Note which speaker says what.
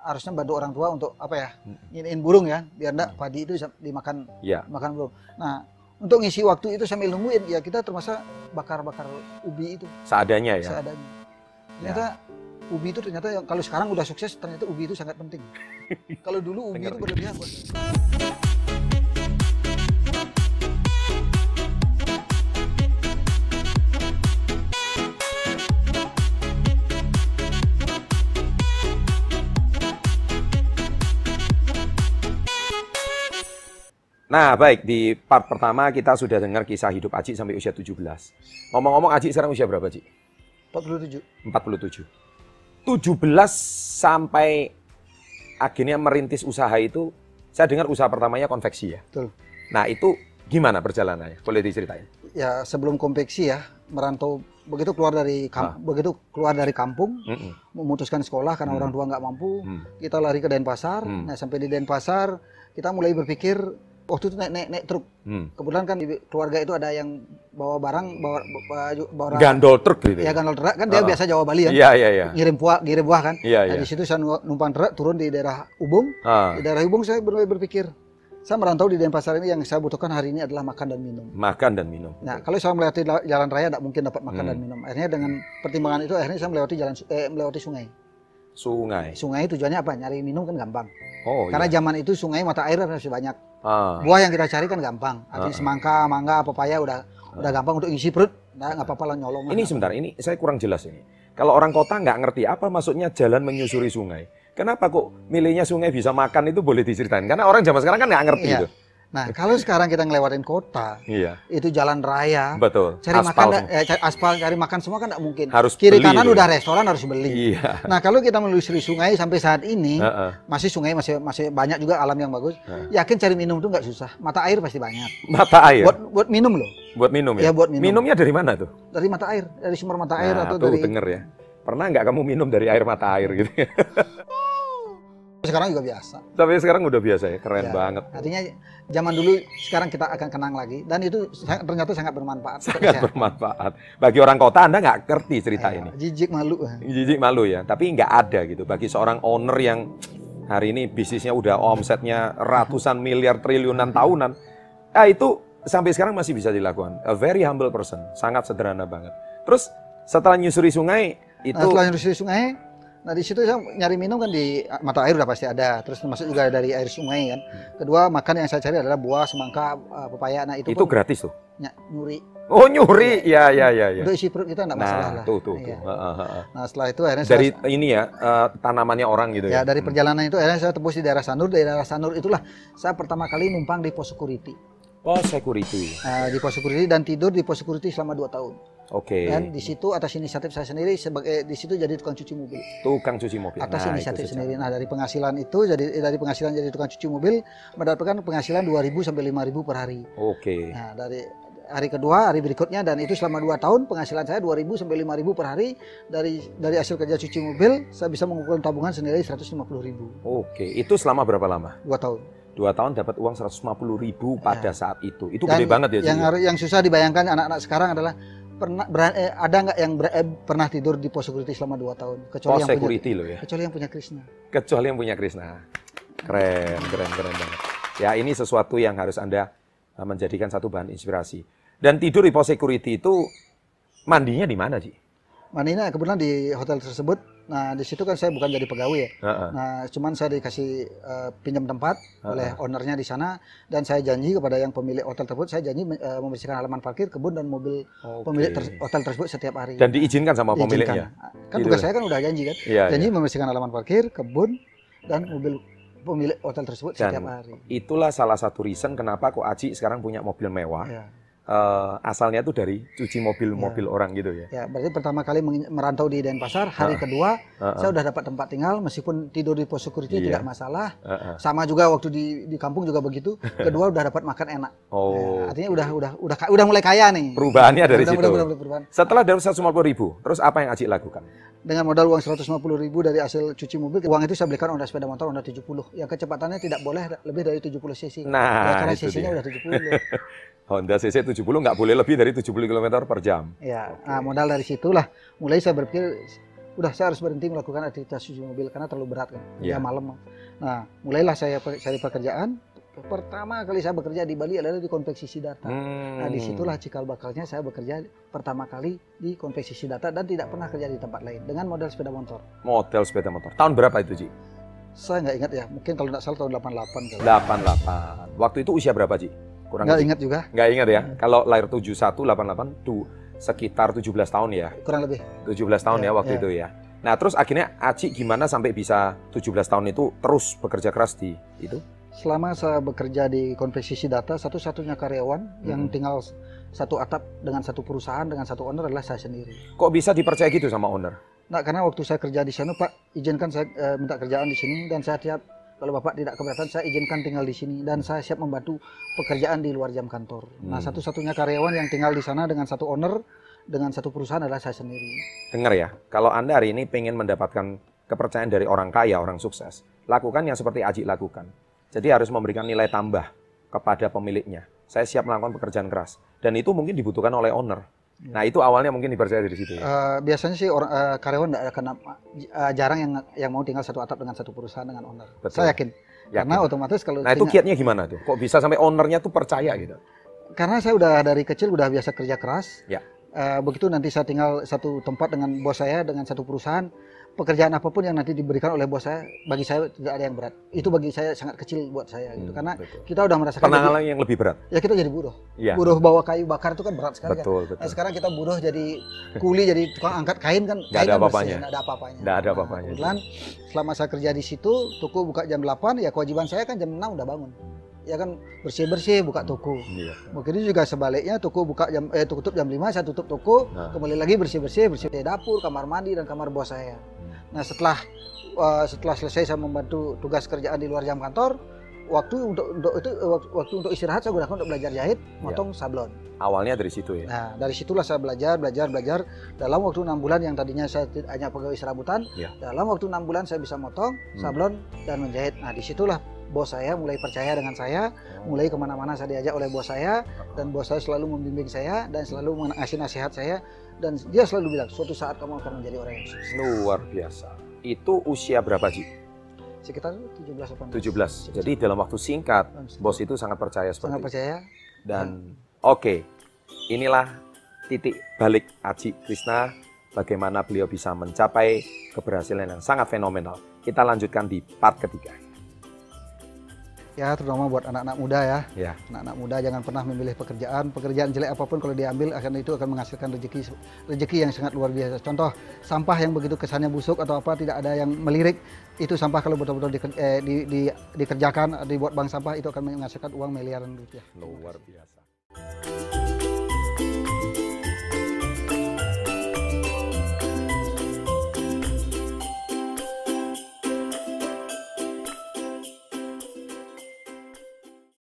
Speaker 1: harusnya bantu orang tua untuk apa ya nginiin burung ya biar enggak padi itu bisa dimakan
Speaker 2: Iya.
Speaker 1: makan burung nah untuk ngisi waktu itu sambil nungguin ya kita termasuk bakar-bakar ubi itu
Speaker 2: seadanya ya.
Speaker 1: seadanya ternyata ubi itu ternyata yang- kalau sekarang udah sukses ternyata ubi itu sangat penting kalau dulu ubi itu
Speaker 2: Dengar.
Speaker 1: berlebihan buat
Speaker 2: Nah, baik di part pertama kita sudah dengar kisah hidup Aji sampai usia 17. Ngomong-ngomong Aji sekarang usia berapa, Aji?
Speaker 1: 47
Speaker 2: 47. 17 sampai akhirnya merintis usaha itu saya dengar usaha pertamanya konveksi ya.
Speaker 1: betul
Speaker 2: Nah, itu gimana perjalanannya? Boleh diceritain?
Speaker 1: ya sebelum konveksi ya merantau begitu keluar dari
Speaker 2: Ah.
Speaker 1: kamp- begitu keluar dari kampung
Speaker 2: Mm-mm.
Speaker 1: memutuskan sekolah karena
Speaker 2: Hmm.
Speaker 1: orang tua nggak mampu
Speaker 2: Hmm.
Speaker 1: kita lari ke Denpasar
Speaker 2: Hmm.
Speaker 1: nah sampai di Denpasar kita mulai berpikir waktu itu naik naik, naik truk
Speaker 2: Hmm.
Speaker 1: kebetulan kan di keluarga itu ada yang bawa barang bawa baju bawa
Speaker 2: Gandol truk gitu.
Speaker 1: ya gandol truk kan dia
Speaker 2: Ah.
Speaker 1: biasa Jawa Bali ya
Speaker 2: Iya, iya, iya.
Speaker 1: ngirim buah ngirim buah kan Nah,
Speaker 2: Iya, iya.
Speaker 1: di situ saya nu- numpang truk turun di daerah Ubung
Speaker 2: Ah,
Speaker 1: di daerah Ubung saya mulai berpikir saya merantau di Denpasar ini yang saya butuhkan hari ini adalah makan dan minum
Speaker 2: makan dan minum.
Speaker 1: Nah, kalau saya melewati la- jalan raya tidak mungkin dapat makan
Speaker 2: Hmm.
Speaker 1: dan minum. Akhirnya dengan pertimbangan itu akhirnya saya melewati jalan su- eh, melewati sungai.
Speaker 2: Sungai.
Speaker 1: Sungai tujuannya apa? Nyari minum kan gampang.
Speaker 2: Oh,
Speaker 1: Karena
Speaker 2: iya.
Speaker 1: zaman itu sungai mata air masih banyak.
Speaker 2: Ah,
Speaker 1: Buah yang kita cari kan gampang. Artinya
Speaker 2: Ah.
Speaker 1: semangka, mangga, pepaya udah udah gampang untuk isi perut. Nah, nggak apa-apa lah nyolong. lah.
Speaker 2: Ini sebentar, ini saya kurang jelas ini. Kalau orang kota nggak ngerti apa maksudnya jalan menyusuri sungai. Kenapa kok milihnya sungai bisa makan itu boleh diceritain? Karena orang zaman sekarang kan nggak ngerti
Speaker 1: Iya.
Speaker 2: itu.
Speaker 1: Nah, kalau sekarang kita ngelewatin kota,
Speaker 2: Iya,
Speaker 1: itu jalan raya,
Speaker 2: betul.
Speaker 1: cari
Speaker 2: Aspal
Speaker 1: makan,
Speaker 2: semua.
Speaker 1: eh, cari aspal, cari makan semua kan nggak mungkin.
Speaker 2: harus
Speaker 1: Kiri
Speaker 2: beli
Speaker 1: kanan
Speaker 2: itu.
Speaker 1: udah restoran harus beli.
Speaker 2: Iya.
Speaker 1: Nah, kalau kita menelusuri sungai sampai saat ini,
Speaker 2: Heeh.
Speaker 1: masih sungai masih masih banyak juga alam yang bagus.
Speaker 2: Heeh.
Speaker 1: Yakin cari minum tuh nggak susah. Mata air pasti banyak.
Speaker 2: Mata air buat,
Speaker 1: Buat buat minum loh.
Speaker 2: Iya. minum
Speaker 1: Ya
Speaker 2: ya.
Speaker 1: buat minum.
Speaker 2: Minumnya dari mana tuh?
Speaker 1: dari mata air, dari sumber mata air
Speaker 2: Nah,
Speaker 1: atau
Speaker 2: tuh
Speaker 1: dari
Speaker 2: denger ya. Pernah nggak kamu minum dari air mata air gitu?
Speaker 1: sekarang juga biasa.
Speaker 2: Tapi sekarang udah biasa ya,
Speaker 1: Ya.
Speaker 2: keren banget.
Speaker 1: Artinya zaman dulu sekarang kita akan kenang lagi dan itu sa- ternyata sangat bermanfaat. Iya.
Speaker 2: Sangat bermanfaat. Bagi orang kota Anda nggak ngerti cerita
Speaker 1: Ya.
Speaker 2: ini.
Speaker 1: Jijik malu. Nah,
Speaker 2: Jijik malu ya, tapi nggak ada gitu. Bagi seorang owner yang hari ini bisnisnya udah omsetnya ratusan miliar triliunan tahunan, ah itu sampai sekarang masih bisa dilakukan. A very humble person, sangat sederhana banget. Terus setelah nyusuri sungai
Speaker 1: Nah,
Speaker 2: itu
Speaker 1: setelah nyusuri sungai, nah di situ saya nyari minum kan di mata air udah pasti ada. Terus termasuk juga dari air sungai kan.
Speaker 2: Hmm.
Speaker 1: Kedua makan yang saya cari adalah buah, semangka, eh, pepaya. Nah itu,
Speaker 2: itu
Speaker 1: pun
Speaker 2: gratis tuh.
Speaker 1: ny- nyuri.
Speaker 2: Oh nyuri, ya ya ya ya.
Speaker 1: Untuk isi perut kita nggak masalah
Speaker 2: Nah
Speaker 1: lah.
Speaker 2: tuh tuh tuh.
Speaker 1: Iya.
Speaker 2: Heeh, heeh.
Speaker 1: Nah setelah itu akhirnya saya-
Speaker 2: Dari ini ya eh, tanamannya orang gitu
Speaker 1: Ya
Speaker 2: ya.
Speaker 1: dari
Speaker 2: Hmm.
Speaker 1: perjalanan itu akhirnya saya tembus di daerah Sanur, Di daerah Sanur itulah saya pertama kali numpang di pos security.
Speaker 2: Oh security,
Speaker 1: Eh, di pos security dan tidur di pos security selama 2 tahun.
Speaker 2: oke.
Speaker 1: Dan Kan, di situ atas inisiatif saya sendiri sebagai di situ jadi tukang cuci mobil.
Speaker 2: Tukang cuci mobil.
Speaker 1: Atas
Speaker 2: Nah, itu
Speaker 1: inisiatif
Speaker 2: sejak-
Speaker 1: sendiri. Nah, dari penghasilan itu jadi eh, dari penghasilan jadi tukang cuci mobil mendapatkan penghasilan 2000 sampai 5000 per hari.
Speaker 2: Oke.
Speaker 1: Nah, dari hari kedua, hari berikutnya dan itu selama 2 tahun penghasilan saya 2000 sampai 5000 per hari dari dari hasil kerja cuci mobil saya bisa mengumpulkan tabungan senilai 150.000
Speaker 2: Oke, itu selama berapa lama?
Speaker 1: 2 tahun.
Speaker 2: dua tahun dapat uang 150.000 ribu pada saat itu. Itu
Speaker 1: Ya. Dan
Speaker 2: gede banget ya.
Speaker 1: Yang
Speaker 2: Ji?
Speaker 1: harus- yang susah dibayangkan anak-anak sekarang adalah pernah beran- eh, ada nggak yang ber- eh, pernah tidur di pos security selama 2 tahun kecuali
Speaker 2: Pos
Speaker 1: yang punya
Speaker 2: security loh ya.
Speaker 1: kecuali yang punya Krishna.
Speaker 2: Kecuali yang punya Krishna. Keren, keren, keren banget. Ya ini sesuatu yang harus Anda eh, menjadikan satu bahan inspirasi. Dan tidur di pos security itu mandinya di mana sih?
Speaker 1: Manina kebetulan di hotel tersebut. Nah, di situ kan saya bukan jadi pegawai ya. Nah, cuman saya dikasih eh, pinjam tempat
Speaker 2: Ah,
Speaker 1: oleh ownernya di sana dan saya janji kepada yang pemilik hotel tersebut, saya janji eh, membersihkan halaman parkir, kebun dan mobil Oh, pemilik ter- hotel tersebut setiap hari.
Speaker 2: Dan diizinkan sama
Speaker 1: Diizinkan.
Speaker 2: pemiliknya.
Speaker 1: Kan
Speaker 2: Tidur.
Speaker 1: tugas saya kan udah janji kan.
Speaker 2: Iya.
Speaker 1: janji
Speaker 2: iya.
Speaker 1: membersihkan halaman parkir, kebun dan mobil pemilik hotel tersebut
Speaker 2: Dan-
Speaker 1: setiap hari.
Speaker 2: Itulah salah satu reason kenapa kok Aji sekarang punya mobil mewah.
Speaker 1: Ya,
Speaker 2: Eh, asalnya tuh dari cuci mobil-mobil orang gitu ya.
Speaker 1: ya berarti pertama kali mengi- merantau di Denpasar, hari kedua
Speaker 2: Heeh,
Speaker 1: saya udah dapat tempat tinggal meskipun tidur di pos security
Speaker 2: Iya.
Speaker 1: tidak masalah.
Speaker 2: heeh.
Speaker 1: Sama juga waktu di di kampung juga begitu. Kedua udah dapat makan enak.
Speaker 2: Oh.
Speaker 1: Ya, artinya udah udah udah ka- udah mulai kaya nih.
Speaker 2: Perubahannya dari
Speaker 1: Udah-
Speaker 2: situ.
Speaker 1: udah- udah- udah perubahan.
Speaker 2: Setelah dapat 150 ribu, terus apa yang Aji lakukan?
Speaker 1: Dengan modal uang 150 ribu dari hasil cuci mobil, uang itu saya belikan Honda sepeda motor Honda 70 yang Ya, kecepatannya tidak boleh da- lebih dari 70 cc. Ya,
Speaker 2: Nah,
Speaker 1: karena
Speaker 2: itu
Speaker 1: cc-nya
Speaker 2: dia.
Speaker 1: udah 70.
Speaker 2: Honda CC 70 nggak boleh lebih dari 70 km per jam.
Speaker 1: Ya,
Speaker 2: Oke.
Speaker 1: nah, modal dari situlah mulai saya berpikir udah saya harus berhenti melakukan aktivitas cuci mobil karena terlalu berat kan
Speaker 2: Iya.
Speaker 1: ya malam nah mulailah saya pe- cari pekerjaan pertama kali saya bekerja di Bali adalah di konveksi Sidarta nah
Speaker 2: Hmm.
Speaker 1: disitulah cikal bakalnya saya bekerja pertama kali di konveksi Sidarta dan tidak pernah kerja di tempat lain dengan modal sepeda motor
Speaker 2: model sepeda motor. Tahun berapa itu, Ji?
Speaker 1: saya nggak ingat ya mungkin kalau nggak salah tahun 88 kali
Speaker 2: 88. Waktu itu usia berapa, Ji? Kurang
Speaker 1: nggak
Speaker 2: lebih.
Speaker 1: ingat juga
Speaker 2: Nggak ingat ya.
Speaker 1: Hmm.
Speaker 2: Kalau lahir 71 88 tuh sekitar 17 tahun ya.
Speaker 1: kurang lebih
Speaker 2: 17 tahun ya
Speaker 1: Ya,
Speaker 2: waktu
Speaker 1: ya.
Speaker 2: itu ya. Nah, terus akhirnya Aci gimana sampai bisa 17 tahun itu terus bekerja keras di itu?
Speaker 1: selama saya bekerja di konveksi Sidarta satu-satunya karyawan yang
Speaker 2: Hmm.
Speaker 1: tinggal satu atap dengan satu perusahaan dengan satu owner adalah saya sendiri
Speaker 2: Kok bisa dipercaya gitu sama owner?
Speaker 1: Nah, karena waktu saya kerja di sana, Pak, izinkan saya eh, minta kerjaan di sini dan saya siap kalau Bapak tidak keberatan, saya izinkan tinggal di sini dan saya siap membantu pekerjaan di luar jam kantor. Nah,
Speaker 2: Hmm.
Speaker 1: satu-satunya karyawan yang tinggal di sana dengan satu owner dengan satu perusahaan adalah saya sendiri.
Speaker 2: Dengar ya, kalau Anda hari ini pengen mendapatkan kepercayaan dari orang kaya, orang sukses, lakukan yang seperti Aji lakukan. Jadi harus memberikan nilai tambah kepada pemiliknya. Saya siap melakukan pekerjaan keras. Dan itu mungkin dibutuhkan oleh owner. Nah, itu awalnya mungkin dipercaya dari situ ya.
Speaker 1: Iya. Eh, biasanya sih orang eh, karyawan tidak akan eh, jarang yang yang mau tinggal satu atap dengan satu perusahaan dengan owner.
Speaker 2: Betul.
Speaker 1: Saya yakin. Karena
Speaker 2: Yakin.
Speaker 1: otomatis kalau
Speaker 2: Nah itu
Speaker 1: tinggal-
Speaker 2: kiatnya gimana tuh? Kok bisa sampai ownernya tuh percaya gitu?
Speaker 1: karena saya udah dari kecil udah biasa kerja keras.
Speaker 2: Ya.
Speaker 1: Eh, begitu nanti saya tinggal satu tempat dengan bos saya dengan satu perusahaan, pekerjaan apapun yang nanti diberikan oleh bos saya bagi saya tidak ada yang berat. Itu bagi saya sangat kecil buat saya gitu.
Speaker 2: Hmm,
Speaker 1: Karena
Speaker 2: betul.
Speaker 1: kita udah merasakan
Speaker 2: pernah
Speaker 1: jadi-
Speaker 2: ngalamin yang lebih berat.
Speaker 1: ya kita jadi buruh.
Speaker 2: Iya.
Speaker 1: Buruh bawa kayu bakar itu kan berat sekali kan.
Speaker 2: Betul,
Speaker 1: Nah,
Speaker 2: betul.
Speaker 1: sekarang kita buruh jadi kuli jadi tukang angkat kain kan
Speaker 2: Nggak
Speaker 1: kain
Speaker 2: ada
Speaker 1: kan bersih,
Speaker 2: apa-apanya.
Speaker 1: nggak ada apa-apanya
Speaker 2: Nggak ada
Speaker 1: Nah,
Speaker 2: apa-apanya.
Speaker 1: kebetulan selama saya kerja di situ toko buka jam 8 ya kewajiban saya kan jam 6 udah bangun
Speaker 2: Hmm.
Speaker 1: ya kan bersih bersih buka toko
Speaker 2: Iya.
Speaker 1: Begitu juga sebaliknya toko buka jam eh toko tutup jam 5 saya tutup toko,
Speaker 2: Nah.
Speaker 1: kembali lagi bersih-bersih, bersih di dapur, kamar mandi dan kamar bos saya.
Speaker 2: Hmm.
Speaker 1: Nah, setelah eh, setelah selesai saya membantu tugas kerjaan di luar jam kantor, waktu untuk, untuk itu eh, wak- waktu untuk istirahat saya gunakan untuk belajar jahit, motong sablon.
Speaker 2: Awalnya dari situ ya.
Speaker 1: Nah, dari situlah saya belajar, belajar, belajar dalam waktu enam bulan yang tadinya saya tid- hanya pegawai serabutan,
Speaker 2: Iya.
Speaker 1: dalam waktu enam bulan saya bisa motong,
Speaker 2: Hmm.
Speaker 1: sablon dan menjahit. Nah, disitulah bos saya mulai percaya dengan saya Nah, mulai kemana-mana saya diajak oleh bos saya dan bos saya selalu membimbing saya dan selalu mengasih nasihat saya dan dia selalu bilang suatu saat kamu akan menjadi orang yang sukses
Speaker 2: Luar biasa. Itu usia berapa Ji?
Speaker 1: sekitar 17 18
Speaker 2: 17. Jadi dalam waktu singkat,
Speaker 1: Tahun sekitar.
Speaker 2: bos itu sangat percaya
Speaker 1: sangat
Speaker 2: seperti itu.
Speaker 1: percaya
Speaker 2: Dan oke, inilah titik balik Aji Krishna bagaimana beliau bisa mencapai keberhasilan yang sangat fenomenal. Kita lanjutkan di part ketiga.
Speaker 1: ya terutama buat anak-anak muda ya
Speaker 2: Ya.
Speaker 1: anak-anak muda jangan pernah memilih pekerjaan pekerjaan jelek apapun kalau diambil akan itu akan menghasilkan rezeki rezeki yang sangat luar biasa contoh sampah yang begitu kesannya busuk atau apa tidak ada yang melirik itu sampah kalau betul-betul diker- eh, di- di- dikerjakan dibuat bank sampah itu akan menghasilkan uang miliaran rupiah
Speaker 2: Luar biasa.